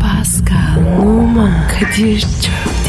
Pascal, Oman, Kadir çok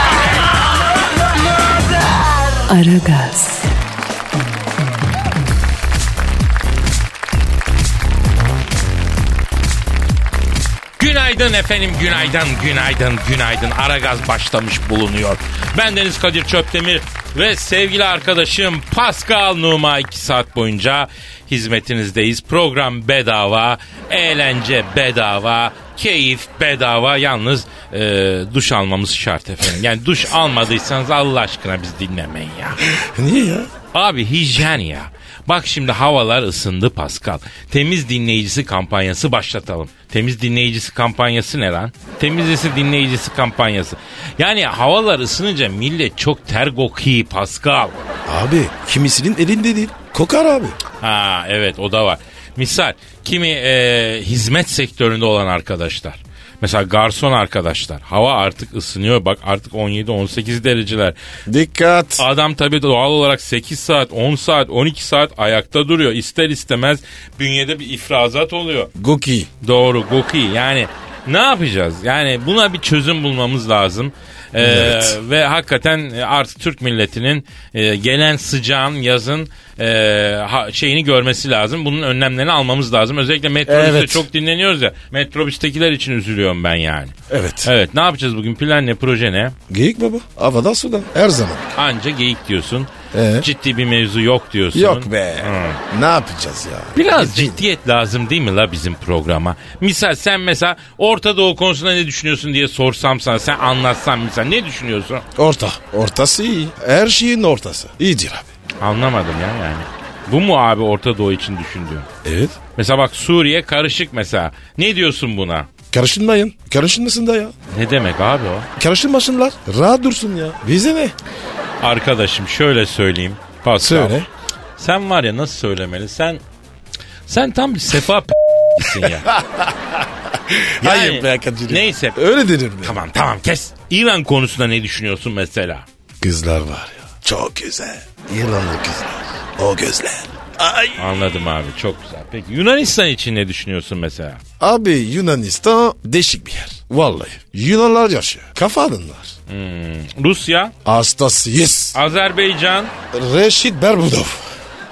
Aragaz, Günaydın efendim, günaydın, günaydın, günaydın. Aragaz başlamış bulunuyor. Ben Deniz Kadir Çöptemir ve sevgili arkadaşım Pascal Numa 2 saat boyunca hizmetinizdeyiz. Program bedava, eğlence bedava, keyif bedava. Yalnız e, duş almamız şart efendim. Yani duş almadıysanız Allah aşkına biz dinlemeyin ya. Niye ya? Abi hijyen ya. Bak şimdi havalar ısındı Pascal. Temiz dinleyicisi kampanyası başlatalım. Temiz dinleyicisi kampanyası ne lan? Temizlisi dinleyicisi kampanyası. Yani havalar ısınınca millet çok ter kokuyor Pascal. Abi kimisinin elinde değil. Kokar abi. Ha evet o da var. Misal kimi e, hizmet sektöründe olan arkadaşlar. Mesela garson arkadaşlar. Hava artık ısınıyor. Bak artık 17-18 dereceler. Dikkat. Adam tabii doğal olarak 8 saat, 10 saat, 12 saat ayakta duruyor. İster istemez bünyede bir ifrazat oluyor. Goki. Doğru Goki yani ne yapacağız? Yani buna bir çözüm bulmamız lazım. Ee, Evet. Ve hakikaten e, artık Türk milletinin e, gelen sıcağın yazın e, ha- şeyini görmesi lazım. Bunun önlemlerini almamız lazım. Özellikle metrobüste Evet. çok dinleniyoruz ya. Metrobüstekiler için üzülüyorum ben yani. Evet. Evet ne yapacağız bugün? Plan ne? Proje ne? Geyik baba. Havadan sudan. Her zaman. Anca geyik diyorsun. Ee? Ciddi bir mevzu yok diyorsun. Yok be. Hı. Ne yapacağız ya? Biraz ciddiyet lazım değil mi la bizim programa? Misal sen mesela Orta Doğu konusunda ne düşünüyorsun diye sorsam sana sen anlatsan misal ne düşünüyorsun? Orta. Ortası iyi. Her şeyin ortası. İyidir abi. Anlamadım ya yani. Bu mu abi Orta Doğu için düşündüğün? Evet. Mesela bak Suriye karışık mesela. Ne diyorsun buna? Karışılmayın. Karışılmasın da ya. Ne demek abi o? Karışılmasınlar. Rahat dursun ya. Bize ne? Arkadaşım şöyle söyleyeyim. Pascal. Söyle. Sen var ya nasıl söylemeli? Sen sen tam bir sefa p***sin ya. Yani, Hayır be Kadir. Neyse. Öyle denir mi? Tamam tamam kes. İran konusunda ne düşünüyorsun mesela? Kızlar var ya. Çok güzel. İranlı kızlar. O gözler. Ay. Anladım abi çok güzel. Peki Yunanistan için ne düşünüyorsun mesela? Abi Yunanistan değişik bir yer. Vallahi. Yunanlar yaşıyor. Kafa adınlar. Rusya, Hastasıyız. Azerbaycan. Reşit Berbudov.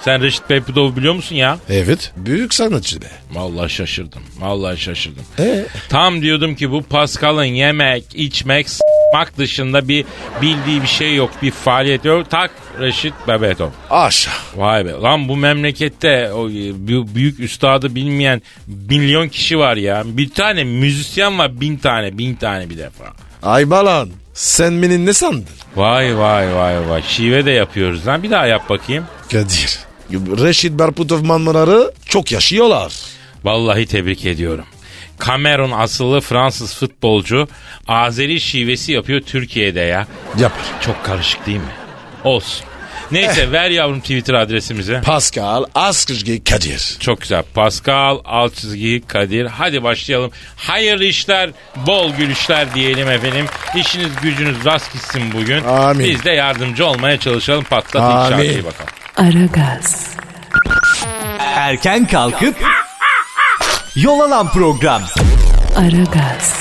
Sen Reşit Beypudov'u biliyor musun ya? Evet. Büyük sanatçı be. Vallahi şaşırdım. Vallahi şaşırdım. Ee? Tam diyordum ki bu Pascal'ın yemek, içmek, s**mak dışında bir bildiği bir şey yok. Bir faaliyet yok. Tak Reşit Bebetov. Aşağı. Vay be. Lan bu memlekette o e, bü- büyük üstadı bilmeyen milyon kişi var ya. Bir tane müzisyen var bin tane bin tane bir defa. Ay balan. Sen beni ne sandın? Vay vay vay vay. Şive de yapıyoruz lan. Bir daha yap bakayım. Kadir. Reşit Berbudov manmaları çok yaşıyorlar. Vallahi tebrik ediyorum. Cameron asıllı Fransız futbolcu Azeri şivesi yapıyor Türkiye'de ya. Yapar. Çok karışık değil mi? Olsun. Neyse Eh. ver yavrum Twitter adresimizi. Pascal Askışgi Kadir. Çok güzel. Pascal alt çizgi Kadir. Hadi başlayalım. Hayırlı işler, bol gülüşler diyelim efendim. İşiniz gücünüz rast gitsin bugün. Amin. Biz de yardımcı olmaya çalışalım. Patlat Amin. ilk şarkıyı bakalım. Aragaz, Erken kalkıp yol alan program. Aragaz,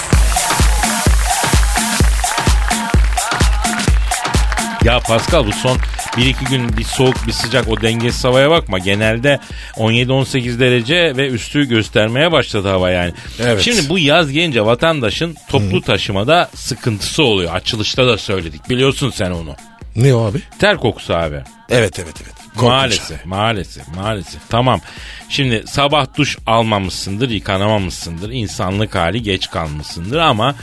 Ya Pascal bu son 1-2 gün bir soğuk bir sıcak o dengesiz havaya bakma. Genelde 17-18 derece ve üstü göstermeye başladı hava yani. Evet. Şimdi bu yaz gelince vatandaşın toplu taşımada sıkıntısı oluyor. Açılışta da söyledik biliyorsun sen onu. Ne o abi? Ter kokusu abi. Evet evet evet. Korkunç abi. Maalesef, maalesef, maalesef. Tamam. Şimdi sabah duş almamışsındır, yıkanamamışsındır. insanlık hali geç kalmışsındır ama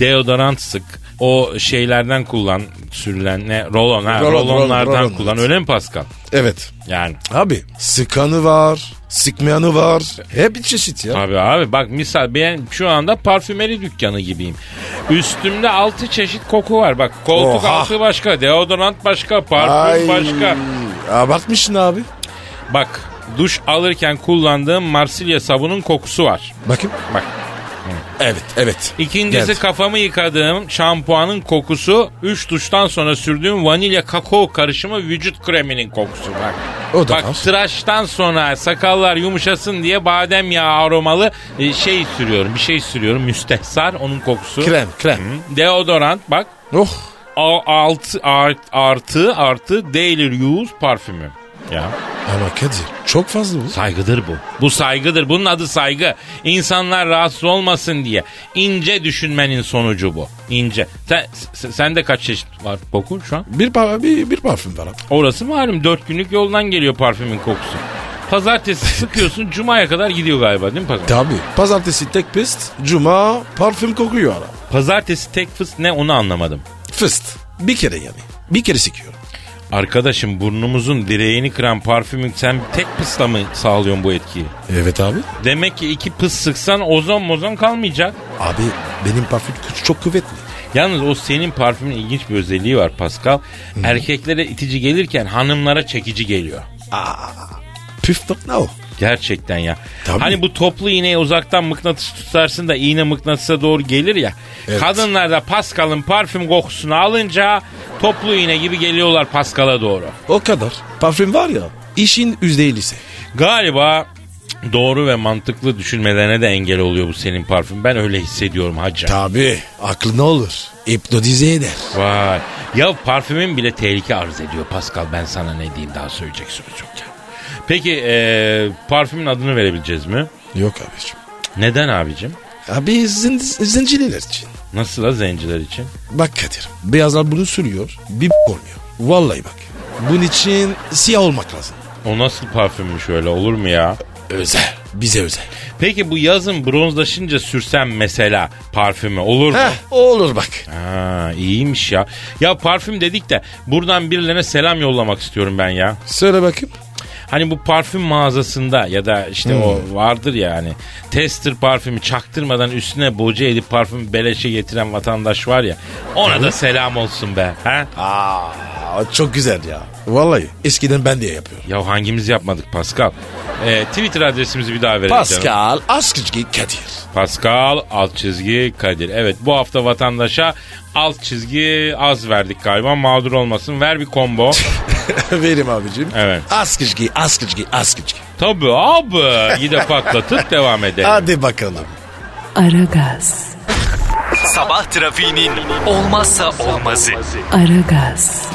deodorant sık. O şeylerden kullan, sürülen ne? Rolon, ha, Rolon, rolonlardan rolon, rolon, kullan. evet. Öyle mi Pascal? Evet. Yani Abi sıkanı var, sıkmayanı var. Hep bir çeşit ya. Abi abi bak misal ben şu anda parfümeri dükkanı gibiyim. Üstümde 6 çeşit koku var. Bak koltuk Oha. altı başka, deodorant başka, parfüm başka. Abartmışsın abi. Bak duş alırken kullandığım Marsilya sabunun kokusu var. Bakayım. Bak. Evet evet. İkincisi Geldi. kafamı yıkadığım şampuanın kokusu, 3 duştan sonra sürdüğüm vanilya kakao karışımı vücut kreminin kokusu bak. O da bak var. tıraştan sonra sakallar yumuşasın diye badem yağı aromalı e, şey sürüyorum. Bir şey sürüyorum müstehsar onun kokusu. Krem krem. Hı. Deodorant bak. Oh. A- Altı art- artı artı daily use parfümü. Ya. Ama Kadir çok fazla bu. Saygıdır bu. Bu saygıdır. Bunun adı saygı. İnsanlar rahatsız olmasın diye. İnce düşünmenin sonucu bu. İnce. Sen, sen- sende kaç çeşit var koku şu an? Bir, par bir, bir parfüm var abi. Orası malum. Dört günlük yoldan geliyor parfümün kokusu. Pazartesi sıkıyorsun. Cuma'ya kadar gidiyor galiba değil mi Pascal? Tabii. Pazartesi tek pist, cuma parfüm kokuyor ara. Pazartesi tek fıs ne onu anlamadım. Fıst. Bir kere yani. Bir kere sikiyorum. Arkadaşım burnumuzun direğini kıran parfümün sen tek pısla mı sağlıyorsun bu etkiyi? Evet abi. Demek ki iki pıs sıksan ozon mozon kalmayacak. Abi benim parfüm kokusu çok kuvvetli. Yalnız o senin parfümün ilginç bir özelliği var Pascal. Erkeklere itici gelirken hanımlara çekici geliyor. Püf nokta o. Gerçekten ya. Tabii. Hani bu toplu iğneyi uzaktan mıknatıs tutarsın da iğne mıknatısa doğru gelir ya. Evet. Kadınlar da Pascal'ın parfüm kokusunu alınca toplu iğne gibi geliyorlar Pascal'a doğru. O kadar. Parfüm var ya işin yüzde ellisi. Galiba doğru ve mantıklı düşünmelerine de engel oluyor bu senin parfüm. Ben öyle hissediyorum hacı. Tabii. Aklına olur. Hipnotize eder. Vay. Ya parfümün bile tehlike arz ediyor Pascal. Ben sana ne diyeyim daha söyleyecek söz yok ya. Peki eee, parfümün adını verebileceğiz mi? Yok abiciğim. Neden abicim? Abi zin, zincirler için. Nasıl la zenciler için? Bak Kadir. Beyazlar bunu sürüyor. Bir olmuyor. Vallahi bak. Bunun için siyah olmak lazım. O nasıl parfümmüş öyle olur mu ya? Özel. Bize özel. Peki bu yazın bronzlaşınca sürsem mesela parfümü olur mu? Heh, o olur bak. Ha, iyiymiş ya. Ya parfüm dedik de buradan birilerine selam yollamak istiyorum ben ya. Söyle bakayım. Hani bu parfüm mağazasında ya da işte o vardır ya hani tester parfümü çaktırmadan üstüne boca edip parfüm beleşe getiren vatandaş var ya ona da selam olsun be. He? Aa, çok güzel ya. Vallahi eskiden ben diye yapıyorum. Ya hangimiz yapmadık Pascal? Ee, Twitter adresimizi bir daha verelim. canım. Pascal Askizgi Kadir. Pascal alt çizgi Kadir. Evet bu hafta vatandaşa alt çizgi az verdik galiba mağdur olmasın. Ver bir combo. Verim abicim. Evet. Askizgi, Askizgi, Askizgi. Tabii abi. Yine patlatıp devam edelim. Hadi bakalım. Aragaz, Sabah trafiğinin olmazsa olmazı. Aragaz,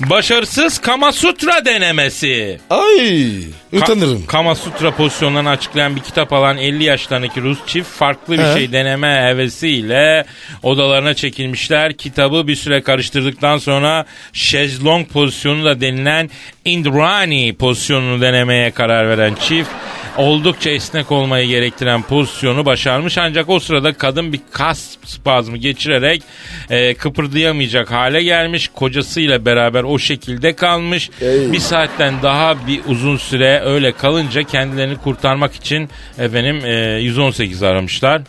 Başarısız Kamasutra denemesi. Ay utanırım. Ka- Kama Sutra pozisyonlarını açıklayan bir kitap alan 50 yaşlarındaki Rus çift farklı bir He. şey deneme hevesiyle odalarına çekilmişler. Kitabı bir süre karıştırdıktan sonra şezlong pozisyonu da denilen Indrani pozisyonunu denemeye karar veren çift oldukça esnek olmayı gerektiren pozisyonu başarmış ancak o sırada kadın bir kas spazmı geçirerek e, kıpırdayamayacak hale gelmiş. Kocasıyla beraber o şekilde kalmış. Bir saatten daha bir uzun süre öyle kalınca kendilerini kurtarmak için efendim e, 118 aramışlar.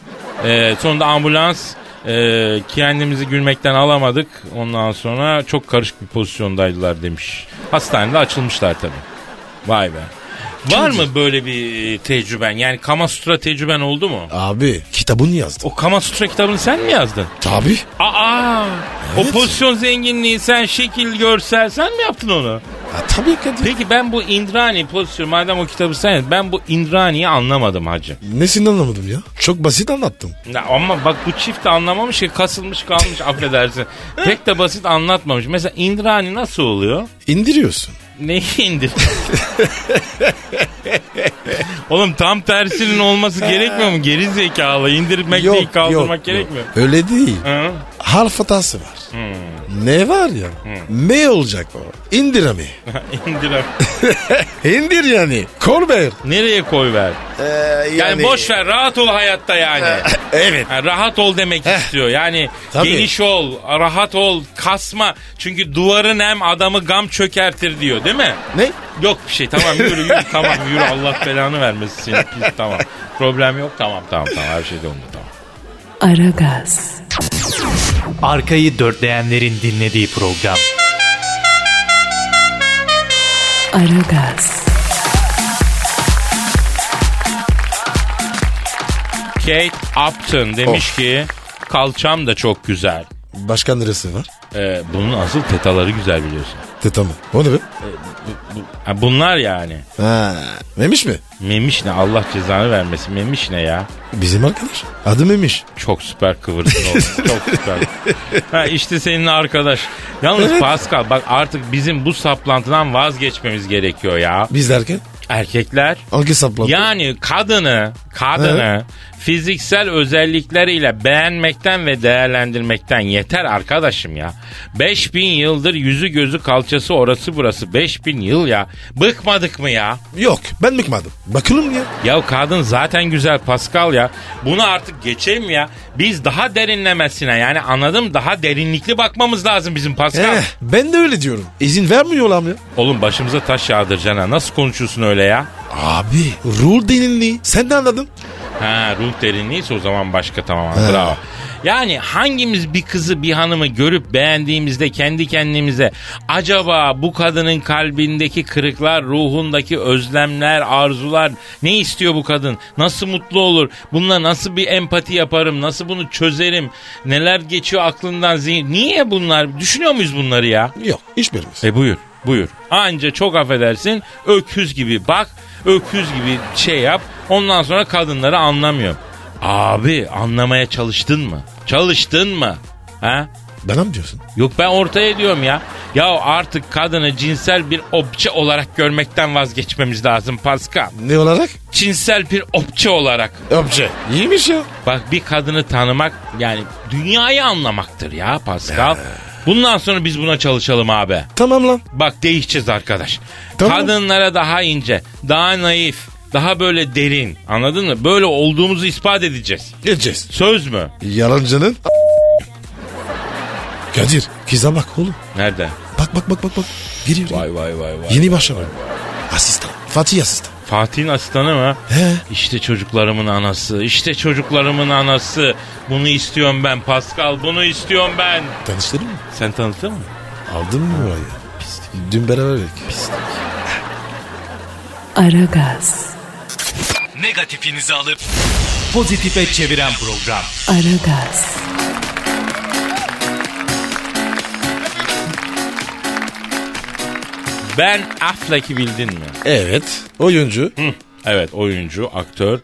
E, sonunda ambulans e, kendimizi gülmekten alamadık. Ondan sonra çok karışık bir pozisyondaydılar demiş. Hastanede açılmışlar tabii. Vay be. Var mı böyle bir e, tecrüben? Yani Kamasutra tecrüben oldu mu? Abi kitabını yazdım. O Kamasutra kitabını sen mi yazdın? Tabi. Aa, Evet. o pozisyon zenginliği sen şekil görsel sen mi yaptın onu? Ha, tabii Kadir. Peki ben bu Indrani pozisyonu madem o kitabı sen yaz- ben bu Indrani'yi anlamadım hacı. Nesini anlamadım ya? Çok basit anlattım. Ya ama bak bu çift de anlamamış ki kasılmış kalmış affedersin. Pek de basit anlatmamış. Mesela Indrani nasıl oluyor? İndiriyorsun. Neyi indir? Oğlum tam tersinin olması gerekmiyor mu? Geri zekalı indirmek değil kaldırmak gerekmiyor. mu? Öyle değil. Hı? Harf hatası var. Hmm. Ne var ya? Ne olacak o? İndir abi. İndir abi. İndir yani. Kolber. Nereye koy ver? Yani, boş ver rahat ol hayatta yani. Evet. Ha, rahat ol demek istiyor. Yani Tabii. geniş ol, rahat ol, kasma. Çünkü duvarın hem adamı gam çökertir diyor değil mi? Ne? Yok bir şey tamam yürü yürü tamam yürü Allah belanı vermesin seni pis tamam. Problem yok tamam tamam tamam her şey yolunda tamam. Aragaz, Arkayı dörtleyenlerin dinlediği program. Aragaz, Kate Upton demiş ki kalçam da çok güzel. Başka neresi var? Ee, bunun asıl tetaları güzel biliyorsun. Teta mı? O ne be? Ha, bunlar yani. Ha. Memiş mi? Memiş ne Allah cezanı vermesin memiş ne ya. Bizim arkadaş. Adı Memiş. Çok süper kıvırdın oğlum. Çok süper. Ha işte senin arkadaş. Yalnız Pascal bak artık bizim bu saplantıdan vazgeçmemiz gerekiyor ya. Biz derken? Erkekler Hangi saplandı? yani kadını kadını fiziksel özellikleriyle beğenmekten ve değerlendirmekten yeter arkadaşım ya. 5000 yıldır yüzü gözü kalçası orası burası 5000 yıl ya. Bıkmadık mı ya? Yok ben bıkmadım. Bakalım ya. Ya kadın zaten güzel Pascal ya. Bunu artık geçelim ya. Biz daha derinlemesine yani anladım daha derinlikli bakmamız lazım bizim Pascal. Eh, ben de öyle diyorum. İzin vermiyorlar mı? ya? Oğlum başımıza taş yağdıracaksın ha. Nasıl konuşuyorsun öyle ya? Abi rul derinliği. Sen de anladın. Ha ruh derinliğiyse o zaman başka tamam. Bravo. Yani hangimiz bir kızı bir hanımı görüp beğendiğimizde kendi kendimize acaba bu kadının kalbindeki kırıklar, ruhundaki özlemler, arzular ne istiyor bu kadın? Nasıl mutlu olur? Bununla nasıl bir empati yaparım? Nasıl bunu çözerim? Neler geçiyor aklından zihin? Niye bunlar? Düşünüyor muyuz bunları ya? Yok hiçbirimiz. E buyur buyur. Anca çok affedersin öküz gibi bak öküz gibi şey yap ondan sonra kadınları anlamıyor. Abi anlamaya çalıştın mı? Çalıştın mı? Ha? Bana mı diyorsun? Yok ben ortaya diyorum ya. Ya artık kadını cinsel bir obje olarak görmekten vazgeçmemiz lazım Pascal. Ne olarak? Cinsel bir obje olarak. Obje. İyiymiş ya. Bak bir kadını tanımak yani dünyayı anlamaktır ya Pascal. Bundan sonra biz buna çalışalım abi. Tamam lan. Bak değişeceğiz arkadaş. Tamam. Kadınlara daha ince, daha naif, daha böyle derin. Anladın mı? Böyle olduğumuzu ispat edeceğiz. Geleceğiz. Söz mü? Yalancının Kadir kıza bak oğlum. Nerede? Bak bak bak bak bak. Giriyor. Vay vay vay vay. Yeni başlama. Asistan. Fatih asistan. Fatih'in asistanı mı? He. İşte çocuklarımın anası. işte çocuklarımın anası. Bunu istiyorum ben Pascal. Bunu istiyorum ben. Tanıştırdın mı? Sen tanıttın mı? Aldın mı numarayı? Dün beraberdik. Aragaz, Negatifinizi alıp pozitife çeviren program. Aragaz, Ben Affleck'i bildin mi? Evet. Oyuncu. Hı. Evet oyuncu, aktör,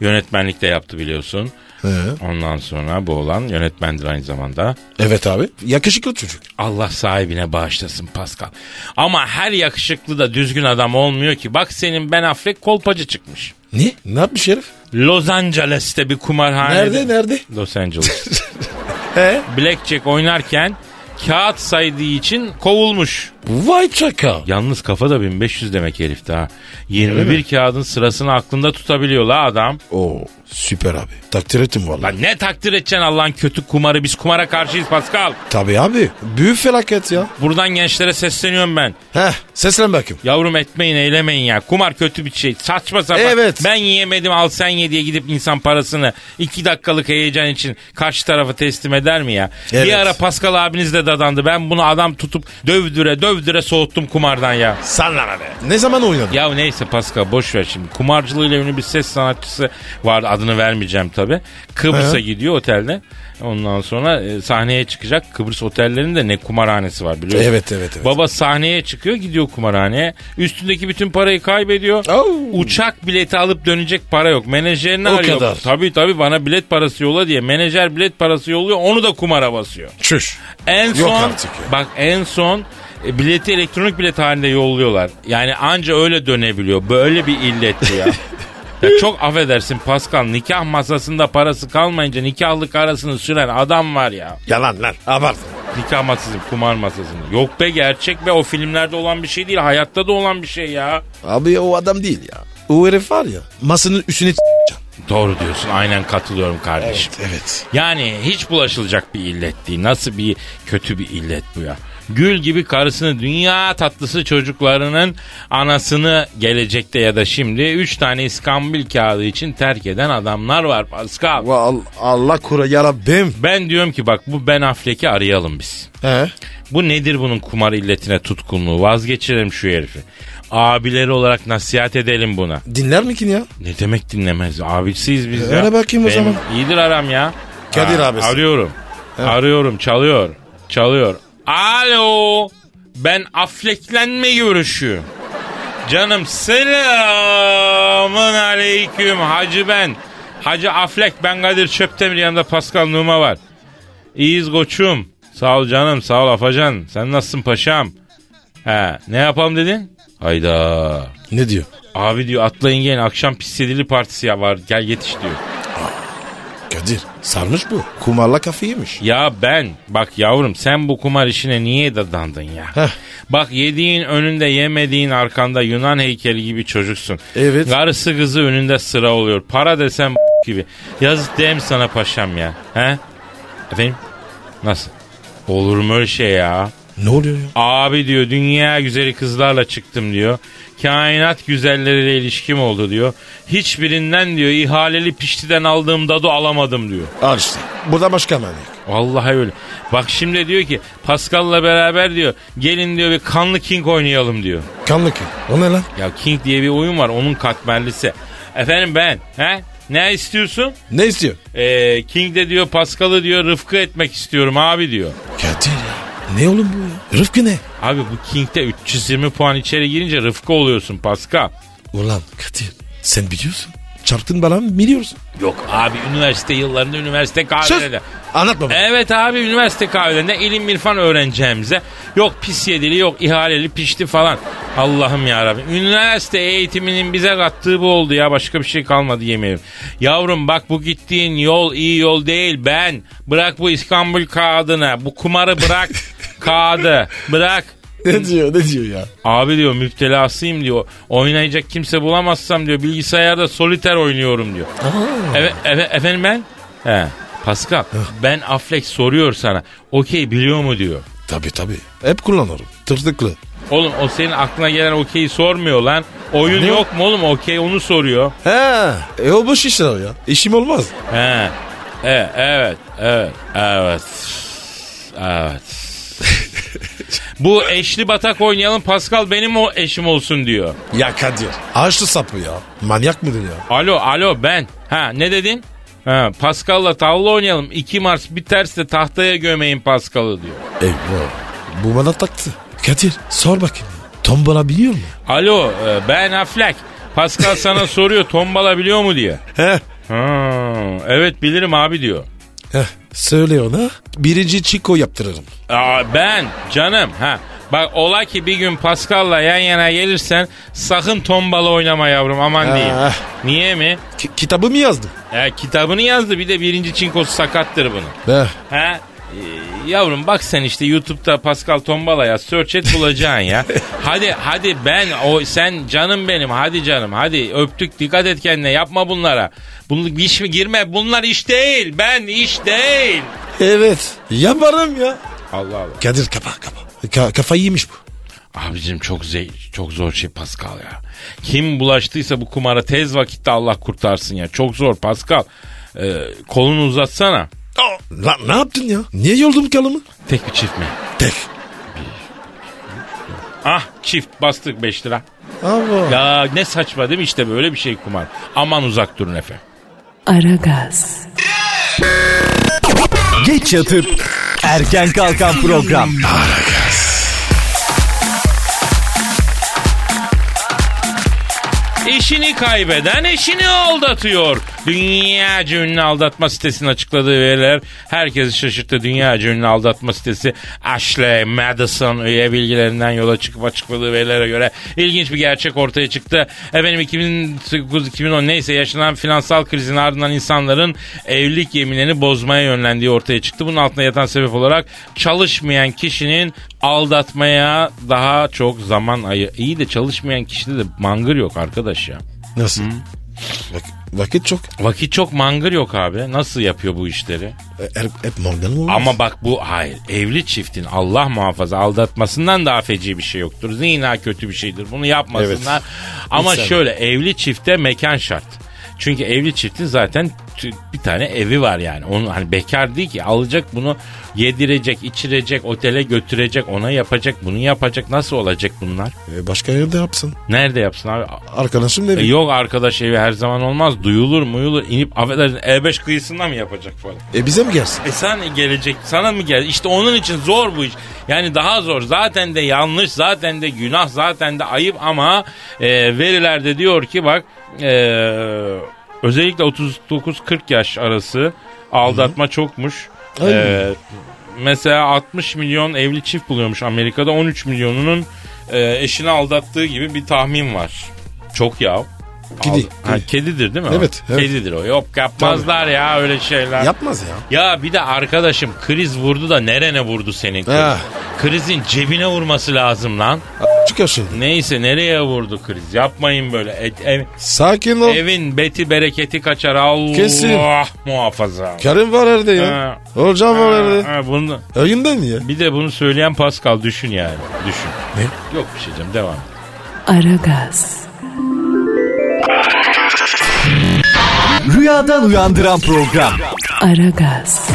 yönetmenlik de yaptı biliyorsun. He. Ondan sonra bu olan yönetmendir aynı zamanda. Evet abi. Yakışıklı çocuk. Allah sahibine bağışlasın Pascal. Ama her yakışıklı da düzgün adam olmuyor ki. Bak senin Ben Affleck kolpacı çıkmış. Ne? Ne yapmış herif? Los Angeles'te bir kumarhanede. Nerede nerede? Los Angeles. He? Blackjack oynarken kağıt saydığı için kovulmuş. Vay çakal. Yalnız kafa da 1500 demek herifte ha. 21 kağıdın sırasını aklında tutabiliyor la adam. Oo süper abi. Takdir ettim vallahi. Lan ne takdir edeceksin Allah'ın kötü kumarı. Biz kumara karşıyız Pascal. Tabii abi. Büyük felaket ya. Buradan gençlere sesleniyorum ben. Heh seslen bakayım. Yavrum etmeyin eylemeyin ya. Kumar kötü bir şey. Saçma sapan. Evet. Ben yiyemedim al sen ye diye gidip insan parasını iki dakikalık heyecan için karşı tarafa teslim eder mi ya? Evet. Bir ara Pascal abiniz de dadandı. Ben bunu adam tutup dövdüre dövdüre soğuttum kumardan ya. Sallama be. Ne zaman oynadın? Ya neyse Pascal boş ver şimdi. Kumarcılığıyla ünlü bir ses sanatçısı var adını vermeyeceğim tabi. Kıbrıs'a He. gidiyor otelde. Ondan sonra e, sahneye çıkacak. Kıbrıs otellerinde ne kumarhanesi var biliyorsun. Evet, evet, evet. Baba sahneye çıkıyor gidiyor kumarhaneye. Üstündeki bütün parayı kaybediyor. Au. Uçak bileti alıp dönecek para yok. Menajerini O arıyor. kadar. Tabii tabii bana bilet parası yolla diye. Menajer bilet parası yolluyor onu da kumara basıyor. Çüş. En Yok son artık ya. bak en son E, bileti elektronik bilet halinde yolluyorlar. Yani anca öyle dönebiliyor. Böyle bir illetti ya. Ya çok affedersin Pascal nikah masasında parası kalmayınca nikahlık arasını süren adam var ya. Yalan lan abartma. Nikah masası, kumar masasında. Yok be gerçek be o filmlerde olan bir şey değil. Hayatta da olan bir şey ya. Abi o adam değil ya. O herif var ya masanın üstüne Doğru diyorsun aynen katılıyorum kardeşim. Evet. Yani hiç bulaşılacak bir illet değil. Nasıl bir kötü bir illet bu ya. Gül gibi karısını dünya tatlısı çocuklarının anasını gelecekte ya da şimdi 3 tane iskambil kağıdı için terk eden adamlar var Pascal. Allah kura yarabbim. Ben diyorum ki bak bu Ben Affleck'i arayalım biz. He. Bu nedir bunun kumar illetine tutkunluğu? Vazgeçirelim şu herifi. Abileri olarak nasihat edelim buna. Dinler mi ki ya? Ne demek dinlemez? Abisiyiz biz ya. Ara bakayım o Benim zaman. İyidir aram ya. Kadir Ha, abisi. Arıyorum. Arıyorum çalıyor. Çalıyor. Alo. Ben Affleck'lenme görüşü. Canım selamın aleyküm hacı ben. Hacı Affleck ben Kadir Çöptemir yanında Pascal Numa var. İyiyiz koçum. Sağ ol canım sağ ol Afacan. Sen nasılsın paşam? He ne yapalım dedin? Hayda. Ne diyor? Abi diyor atlayın gelin akşam pissedili partisi ya var gel yetiş diyor. Kadir sarmış bu. Kumarla kafayı yemiş. Ya ben bak yavrum sen bu kumar işine niye dadandın ya? Heh. Bak yediğin önünde yemediğin arkanda Yunan heykeli gibi çocuksun. Evet. Karısı kızı önünde sıra oluyor. Para desem gibi. Yazık değil mi sana paşam ya? He? Efendim? Nasıl? Olur mu öyle şey ya? Ne oluyor ya? Abi diyor dünya güzeli kızlarla çıktım diyor. Kainat güzelleriyle ilişkim oldu diyor. Hiçbirinden diyor ihaleli piştiden aldığım dadu alamadım diyor. Al işte. Burada başka mı? Vallahi öyle. Bak şimdi diyor ki Pascal'la beraber diyor gelin diyor bir kanlı king oynayalım diyor. Kanlı ki. O ne lan? Ya king diye bir oyun var onun katmerlisi. Efendim ben he ne istiyorsun? Ne istiyor? Ee, king de diyor Pascal'ı diyor rıfkı etmek istiyorum abi diyor. Kadir ya. Ne oğlum bu ya? Rıfkı ne? Abi bu King'de 320 puan içeri girince rıfkı oluyorsun Pascal. Ulan Kadir sen biliyorsun. Çarptın bana mı biliyorsun? Yok abi üniversite yıllarında üniversite Sus. kahvelerinde. Anlatma bana. Evet abi üniversite kahvelerinde ilim irfan öğreneceğimize yok pis yedili yok ihaleli pişti falan. Allah'ım ya Üniversite eğitiminin bize kattığı bu oldu ya başka bir şey kalmadı yemeğim. Yavrum bak bu gittiğin yol iyi yol değil ben. Bırak bu İstanbul kağıdını bu kumarı bırak kağıdı bırak. Ne diyor ne diyor ya? Abi diyor müptelasıyım diyor. Oynayacak kimse bulamazsam diyor bilgisayarda soliter oynuyorum diyor. Evet evet efendim ben? He. Pascal ben Affleck soruyor sana. Okey biliyor mu diyor. Tabii tabii. Hep kullanırım. Tırtıklı. Oğlum o senin aklına gelen okeyi sormuyor lan. Oyun Ne? yok mu oğlum okey onu soruyor. He. E o boş işler o ya. İşim olmaz. He. E, evet evet evet. Evet. Bu eşli batak oynayalım Pascal benim o eşim olsun diyor. Ya Kadir. Açlı sapı ya. Manyak mıdır ya? Alo alo ben. Ha ne dedin? Ha Pascal'la tavla oynayalım. 2 Mars bir ters de tahtaya gömeyin Pascal'ı diyor. Eyvah. Bu bana taktı. Kadir sor bakayım. Tombala biliyor mu? Alo e, ben Affleck. Pascal sana soruyor tombala biliyor mu diye. He. Ha, evet bilirim abi diyor. Heh, söyle ona. Birinci çiko yaptırırım. Aa, ben canım ha. Bak ola ki bir gün Pascal'la yan yana gelirsen sakın tombala oynama yavrum aman diyeyim. Ah. Niye mi? Ki- kitabı mı yazdın? E, kitabını yazdı bir de birinci çinkosu sakattır bunun. Heh, Ha? Ee, Yavrum bak sen işte YouTube'da Pascal Tombala ya search et bulacaksın ya. hadi hadi ben o sen canım benim hadi canım hadi öptük dikkat et kendine yapma bunlara. Bunu iş mi girme bunlar iş değil ben iş değil. evet. Yaparım ya. Allah Allah. Kadir kapa kapa. Ka- kafayı yemiş bu. Abicim çok zey çok zor şey Pascal ya. Kim bulaştıysa bu kumara tez vakitte Allah kurtarsın ya. Çok zor Pascal. Ee, kolunu uzatsana. Lan ne yaptın ya? Niye yoldun kalımı? Tek bir çift mi? Tek. Ah çift bastık 5 lira. Ama. Ya ne saçma değil mi işte böyle bir şey kumar. Aman uzak durun efendim. Aragaz, Geç yatıp erken kalkan program. Eşini kaybeden eşini aldatıyor. Dünya ünlü aldatma sitesinin açıkladığı veriler herkesi şaşırttı. Dünya ünlü aldatma sitesi Ashley Madison üye bilgilerinden yola çıkıp açıkladığı verilere göre ilginç bir gerçek ortaya çıktı. Efendim 2009-2010 neyse yaşanan finansal krizin ardından insanların evlilik yeminlerini bozmaya yönlendiği ortaya çıktı. Bunun altında yatan sebep olarak çalışmayan kişinin aldatmaya daha çok zaman ayı. İyi de çalışmayan kişide de mangır yok arkadaş ya. Nasıl? Vak- vakit çok. Vakit çok mangır yok abi. Nasıl yapıyor bu işleri? E, Hep, hep Morgan mı? Ama bak bu hayır. Evli çiftin Allah muhafaza aldatmasından daha feci bir şey yoktur. Zina kötü bir şeydir. Bunu yapmasınlar. Evet. Ama İnsan. şöyle evli çifte mekan şart. Çünkü evli çiftin zaten t- bir tane evi var yani. Onun hani bekar değil ki alacak bunu yedirecek, içirecek, otele götürecek, ona yapacak, bunu yapacak. Nasıl olacak bunlar? E, başka yerde yapsın. Nerede yapsın abi? Arkadaşım E, dedi. yok arkadaş evi her zaman olmaz. Duyulur muyulur. inip affedersin E5 kıyısından mı yapacak falan? E, bize mi gelsin? E sen gelecek sana mı gel? İşte onun için zor bu iş. Yani daha zor. Zaten de yanlış, zaten de günah, zaten de ayıp ama e, verilerde diyor ki bak e, özellikle 39-40 yaş arası aldatma çokmuş. Ay. E, mesela 60 milyon evli çift buluyormuş Amerika'da 13 milyonunun e, eşini aldattığı gibi bir tahmin var. Çok ya. Kedi, Aldı- kedi. Ha, kedidir değil mi? o? Evet, evet. Kedidir o. Yok yapmazlar ya öyle şeyler. Yapmaz ya. Ya bir de arkadaşım kriz vurdu da nerene vurdu senin kriz? Ah. Krizin cebine vurması lazım lan. A- Çıkıyor şimdi. Neyse nereye vurdu kriz? Yapmayın böyle. E- ev- Sakin ol. evin beti bereketi kaçar. Allah Kesin. muhafaza. Karın var evde ya. Ha. Hocam var evde. Ha, bunu, Yayından ya. bir de bunu söyleyen Pascal düşün yani. Düşün. Ne? Yok bir şey canım devam. et. Aragaz, Rüyadan uyandıran program. Aragaz,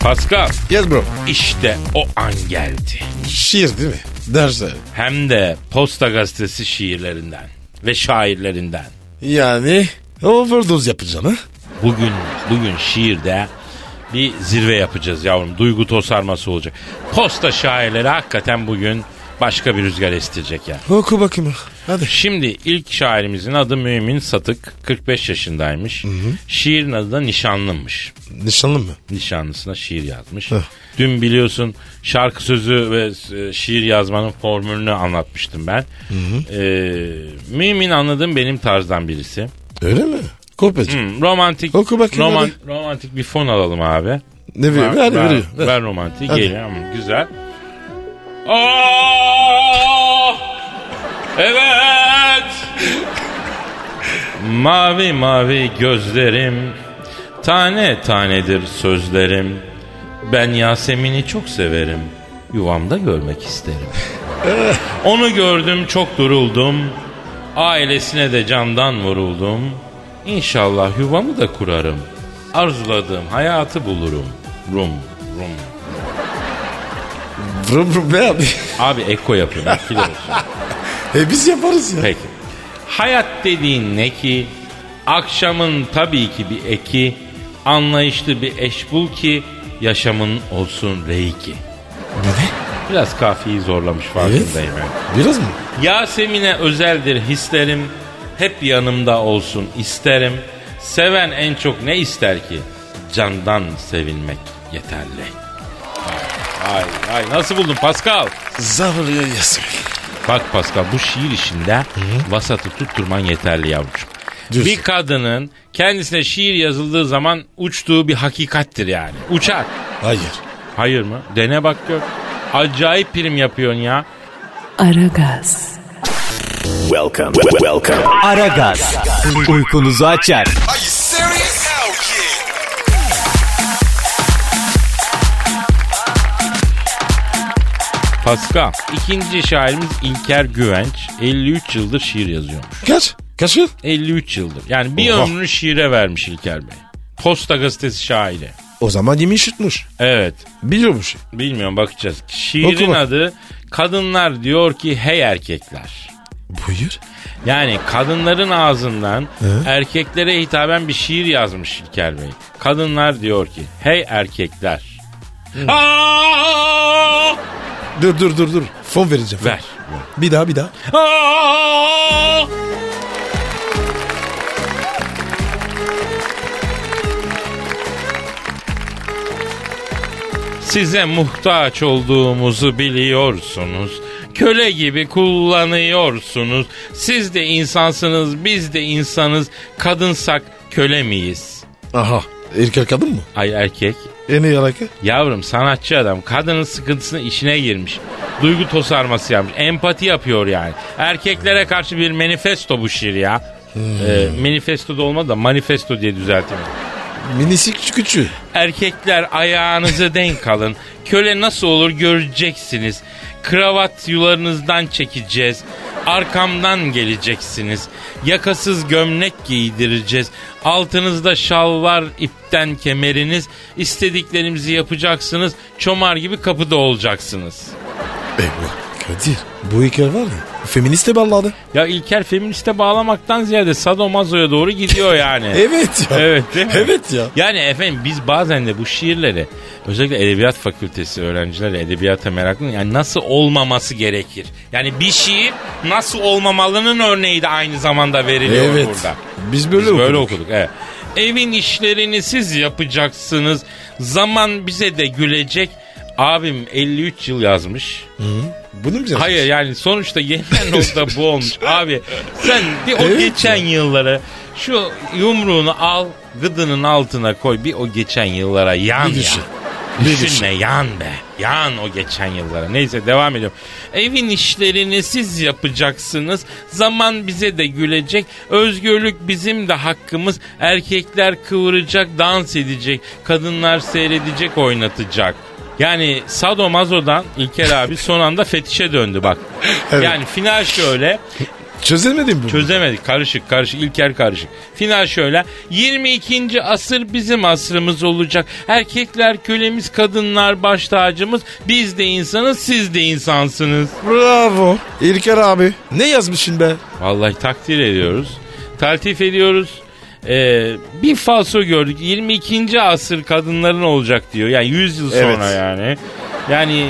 Pascal Yes bro. işte o an geldi. Şiir değil mi? Derse. Hem de Posta Gazetesi şiirlerinden ve şairlerinden. Yani overdose yapacaksın ha? Bugün bugün şiirde bir zirve yapacağız yavrum. Duygu tosarması olacak. Posta şairleri hakikaten bugün başka bir rüzgar estirecek ya. Oku bakayım. Hadi. Şimdi ilk şairimizin adı Mümin Satık. 45 yaşındaymış. Şiirin adı da Nişanlımmış. Nişanlı mı? Nişanlısına şiir yazmış. Heh. Dün biliyorsun şarkı sözü ve e, şiir yazmanın formülünü anlatmıştım ben. Ee, mümin anladığım benim tarzdan birisi. Öyle mi? Kopyacı. Hmm, romantik Oku bakayım hadi. romantik bir fon alalım abi. Ne veriyor? Ver, ver, veriyor. Ver. ver romantik Hadi. geliyor ama güzel. Ah! Evet. mavi mavi gözlerim, tane tanedir sözlerim. Ben Yasemin'i çok severim. Yuvamda görmek isterim. Onu gördüm çok duruldum. Ailesine de candan vuruldum. İnşallah yuvamı da kurarım. Arzuladığım hayatı bulurum. Rum, rum. Vrum vrum be abi. Abi eko yapıyorum. etkili olsun. e biz yaparız ya. Peki. Hayat dediğin ne ki? Akşamın tabii ki bir eki. Anlayışlı bir eş bul ki yaşamın olsun reiki. Biraz kafiyi zorlamış farkındayım. ben. Biraz mı? Yasemin'e özeldir hislerim. Hep yanımda olsun isterim. Seven en çok ne ister ki? Candan sevilmek yeterli. Ay ay nasıl buldun Pascal? Zavrıyor Yasemin. Bak Pascal bu şiir işinde vasatı tutturman yeterli yavrucuğum. Diyorsun. Bir kadının kendisine şiir yazıldığı zaman uçtuğu bir hakikattir yani. Uçar. Hayır. Hayır mı? Dene bak gör. Acayip prim yapıyorsun ya. Aragaz, Aragaz. Uykunuzu açar. Pascal. ikinci şairimiz İlker Güvenç. 53 yıldır şiir yazıyormuş. Kaç? Kaç yıl? 53 yıldır. Yani bir Oha. ömrünü şiire vermiş İlker Bey. Posta gazetesi şairi. O zaman yemin şutmuş. Evet. Biliyor bu şey. Bilmiyorum bakacağız. Şiirin Okuma. adı Kadınlar diyor ki hey erkekler. Buyur. Yani kadınların ağzından erkeklere hitaben bir şiir yazmış İlker Bey. Kadınlar diyor ki hey erkekler. Aa! Dur dur dur dur. Fon vereceğim. Ver. Bir daha bir daha. Aa! Size muhtaç olduğumuzu biliyorsunuz. Köle gibi kullanıyorsunuz. Siz de insansınız, biz de insanız. Kadınsak köle miyiz? Aha. Erkek kadın mı? Ay erkek. E ne yaraka? Yavrum sanatçı adam kadının sıkıntısını içine girmiş. Duygu tosarması yapmış. Empati yapıyor yani. Erkeklere karşı bir manifesto bu şiir ya. Ee, manifesto da olmadı da manifesto diye düzeltiyorum. Minisik küçüğü. Erkekler ayağınıza denk alın. Köle nasıl olur göreceksiniz. Kravat yularınızdan çekeceğiz. Arkamdan geleceksiniz. Yakasız gömlek giydireceğiz. Altınızda şal var ipten kemeriniz. İstediklerimizi yapacaksınız. Çomar gibi kapıda olacaksınız. Eyvah. E Kadir bu hikaye var ya. Feministe balladı. Ya İlker feministe bağlamaktan ziyade sadomazoya doğru gidiyor yani. Evet ya. Evet değil mi? Evet ya. Yani efendim biz bazen de bu şiirleri özellikle edebiyat fakültesi öğrencileri edebiyata meraklı yani nasıl olmaması gerekir? Yani bir şiir nasıl olmamalının örneği de aynı zamanda veriliyor Evet. burada. Biz böyle Biz böyle okuduk. okuduk. Evet. Evin işlerini siz yapacaksınız. Zaman bize de gülecek. Abim 53 yıl yazmış. Bunu mu yazmış? Hayır yani sonuçta yenilen nokta bu olmuş. Abi sen bir o Evet geçen yılları şu yumruğunu al gıdının altına koy bir o geçen yıllara yan Bir düşün. ya. Bir Düşünme düşün. yan be. Yan o geçen yıllara. Neyse devam ediyorum. Evin işlerini siz yapacaksınız. Zaman bize de gülecek. Özgürlük bizim de hakkımız. Erkekler kıvıracak, dans edecek. Kadınlar seyredecek, oynatacak. Yani sadomazodan İlker abi son anda fetişe döndü bak. Evet. Yani final şöyle. Çözemedin mi? Çözemedik. Karışık karışık. İlker karışık. Final şöyle. 22. asır bizim asrımız olacak. Erkekler kölemiz, kadınlar baş tacımız. Biz de insanız, siz de insansınız. Bravo. İlker abi. Ne yazmışsın be? Vallahi takdir ediyoruz. Taltif ediyoruz. Ee, bir falso gördük. 22. asır kadınların olacak diyor. Yani 100 yıl Evet. sonra yani. Yani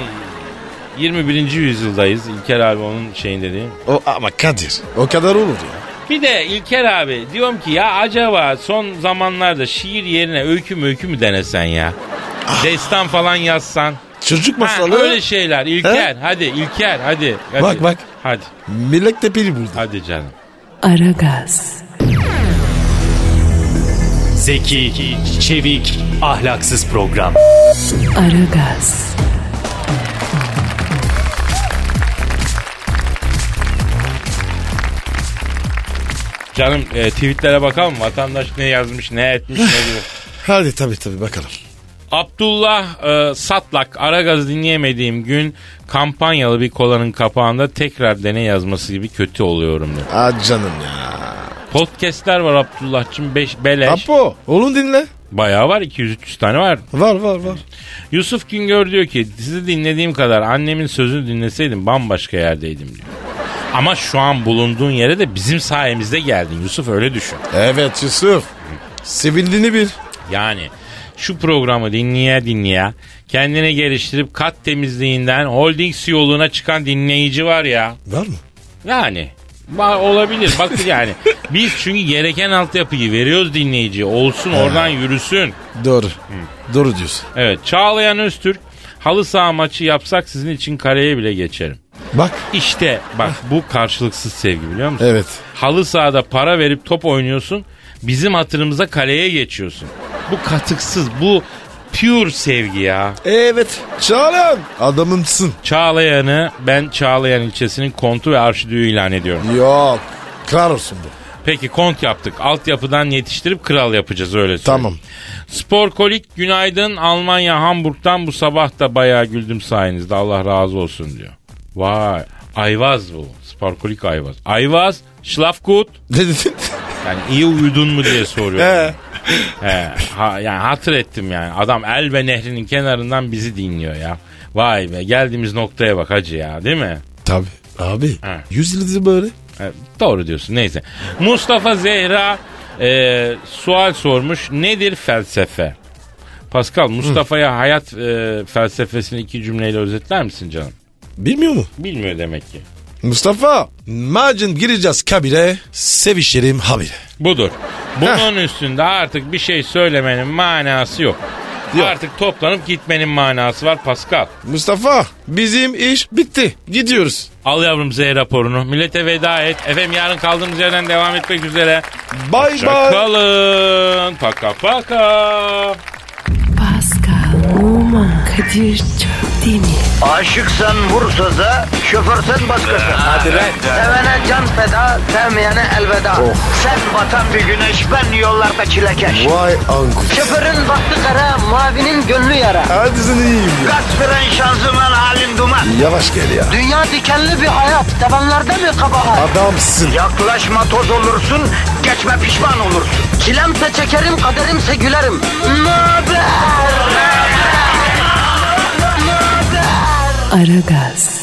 21. yüzyıldayız. İlker abi onun şeyinde değil mi? O ama Kadir. O kadar olur ya. Bir de İlker abi diyorum ki ya acaba son zamanlarda şiir yerine öykü mü öykü mü denesen ya? Destan falan yazsan. Çocuk Ha, Ah. masalı. öyle şeyler İlker hadi İlker hadi. hadi. Bak, bak. Hadi Millet de piri buldu. hadi canım. Aragaz, Zeki, çevik, ahlaksız program. Aragaz, Canım e, tweetlere bakalım vatandaş ne yazmış ne etmiş ne diyor. Hadi tabii tabii bakalım. Abdullah e, Satlak Aragaz dinleyemediğim gün kampanyalı bir kolanın kapağında tekrar dene yazması gibi kötü oluyorum diyor. Aa canım ya. Podcast'ler var Abdullah'cığım 5 beleş. Apo oğlum dinle. Bayağı var 200-300 tane var. Var var var. Yusuf Güngör diyor ki sizi dinlediğim kadar annemin sözünü dinleseydim bambaşka yerdeydim diyor. Ama şu an bulunduğun yere de bizim sayemizde geldin Yusuf öyle düşün. Evet Yusuf. Sevildiğini bil. Yani şu programı dinleye dinleye kendini geliştirip kat temizliğinden holding CEO'luğuna çıkan dinleyici var ya. Var mı? Yani va- olabilir bak yani biz çünkü gereken altyapıyı veriyoruz dinleyiciye olsun oradan yürüsün. Doğru. Doğru diyorsun. Evet Çağlayan Öztürk halı saha maçı yapsak sizin için kaleye bile geçerim. Bak. İşte bak bu karşılıksız sevgi biliyor musun? Evet. Halı sahada para verip top oynuyorsun. Bizim hatırımıza kaleye geçiyorsun. Bu katıksız, bu pure sevgi ya. Evet. Çağlayan. Adamımsın. Çağlayan'ı ben Çağlayan ilçesinin kontu ve arşidüğü ilan ediyorum. Yok. Kral olsun bu. Peki kont yaptık. Altyapıdan yetiştirip kral yapacağız öyle söyleyeyim. Tamam. Sporkolik günaydın Almanya Hamburg'dan bu sabah da bayağı güldüm sayenizde Allah razı olsun diyor. Vay Ayvaz bu. Sporkolik Ayvaz. Ayvaz Schlafgut Ne dedin? Yani iyi uyudun mu diye soruyorum. He. He, ha, yani hatır ettim yani. Adam Elbe Nehri'nin kenarından bizi dinliyor ya. Vay be geldiğimiz noktaya bak hacı ya değil mi? Tabii. Abi. Ha. 100 yıldır böyle. E, doğru diyorsun neyse. Mustafa Zehra e, sual sormuş. Nedir felsefe? Pascal Mustafa'ya hayat e, felsefesini iki cümleyle özetler misin canım? Bilmiyor mu? Bilmiyor demek ki. Mustafa. Macun gireceğiz kabire. Sevişelim habire. Budur. Bunun üstünde artık bir şey söylemenin manası yok. Yok. Artık toplanıp gitmenin manası var Pascal. Mustafa bizim iş bitti. Gidiyoruz. Al yavrum Z raporunu. Millete veda et. Efendim yarın kaldığımız yerden devam etmek üzere. Bay bay. Çakalın. Paka paka. Pascal, Oman, Kadir çok değil mi? Aşıksan vursa da, şoförsen başkasın. Hadi lan. Oh. Sevene can feda, sevmeyene elveda. Sen batan bir güneş, ben yollarda çilekeş. Vay anku. Şoförün baktı kara, mavinin gönlü yara. Hadi sen iyiyim ya. Kasperen şanzıman halin duman. Yavaş gel ya. Dünya dikenli bir hayat, sevenlerde mi kabahar? Adamsın. Yaklaşma toz olursun, geçme pişman olursun. Çilemse çekerim, kaderimse gülerim. Möber! Aragaz.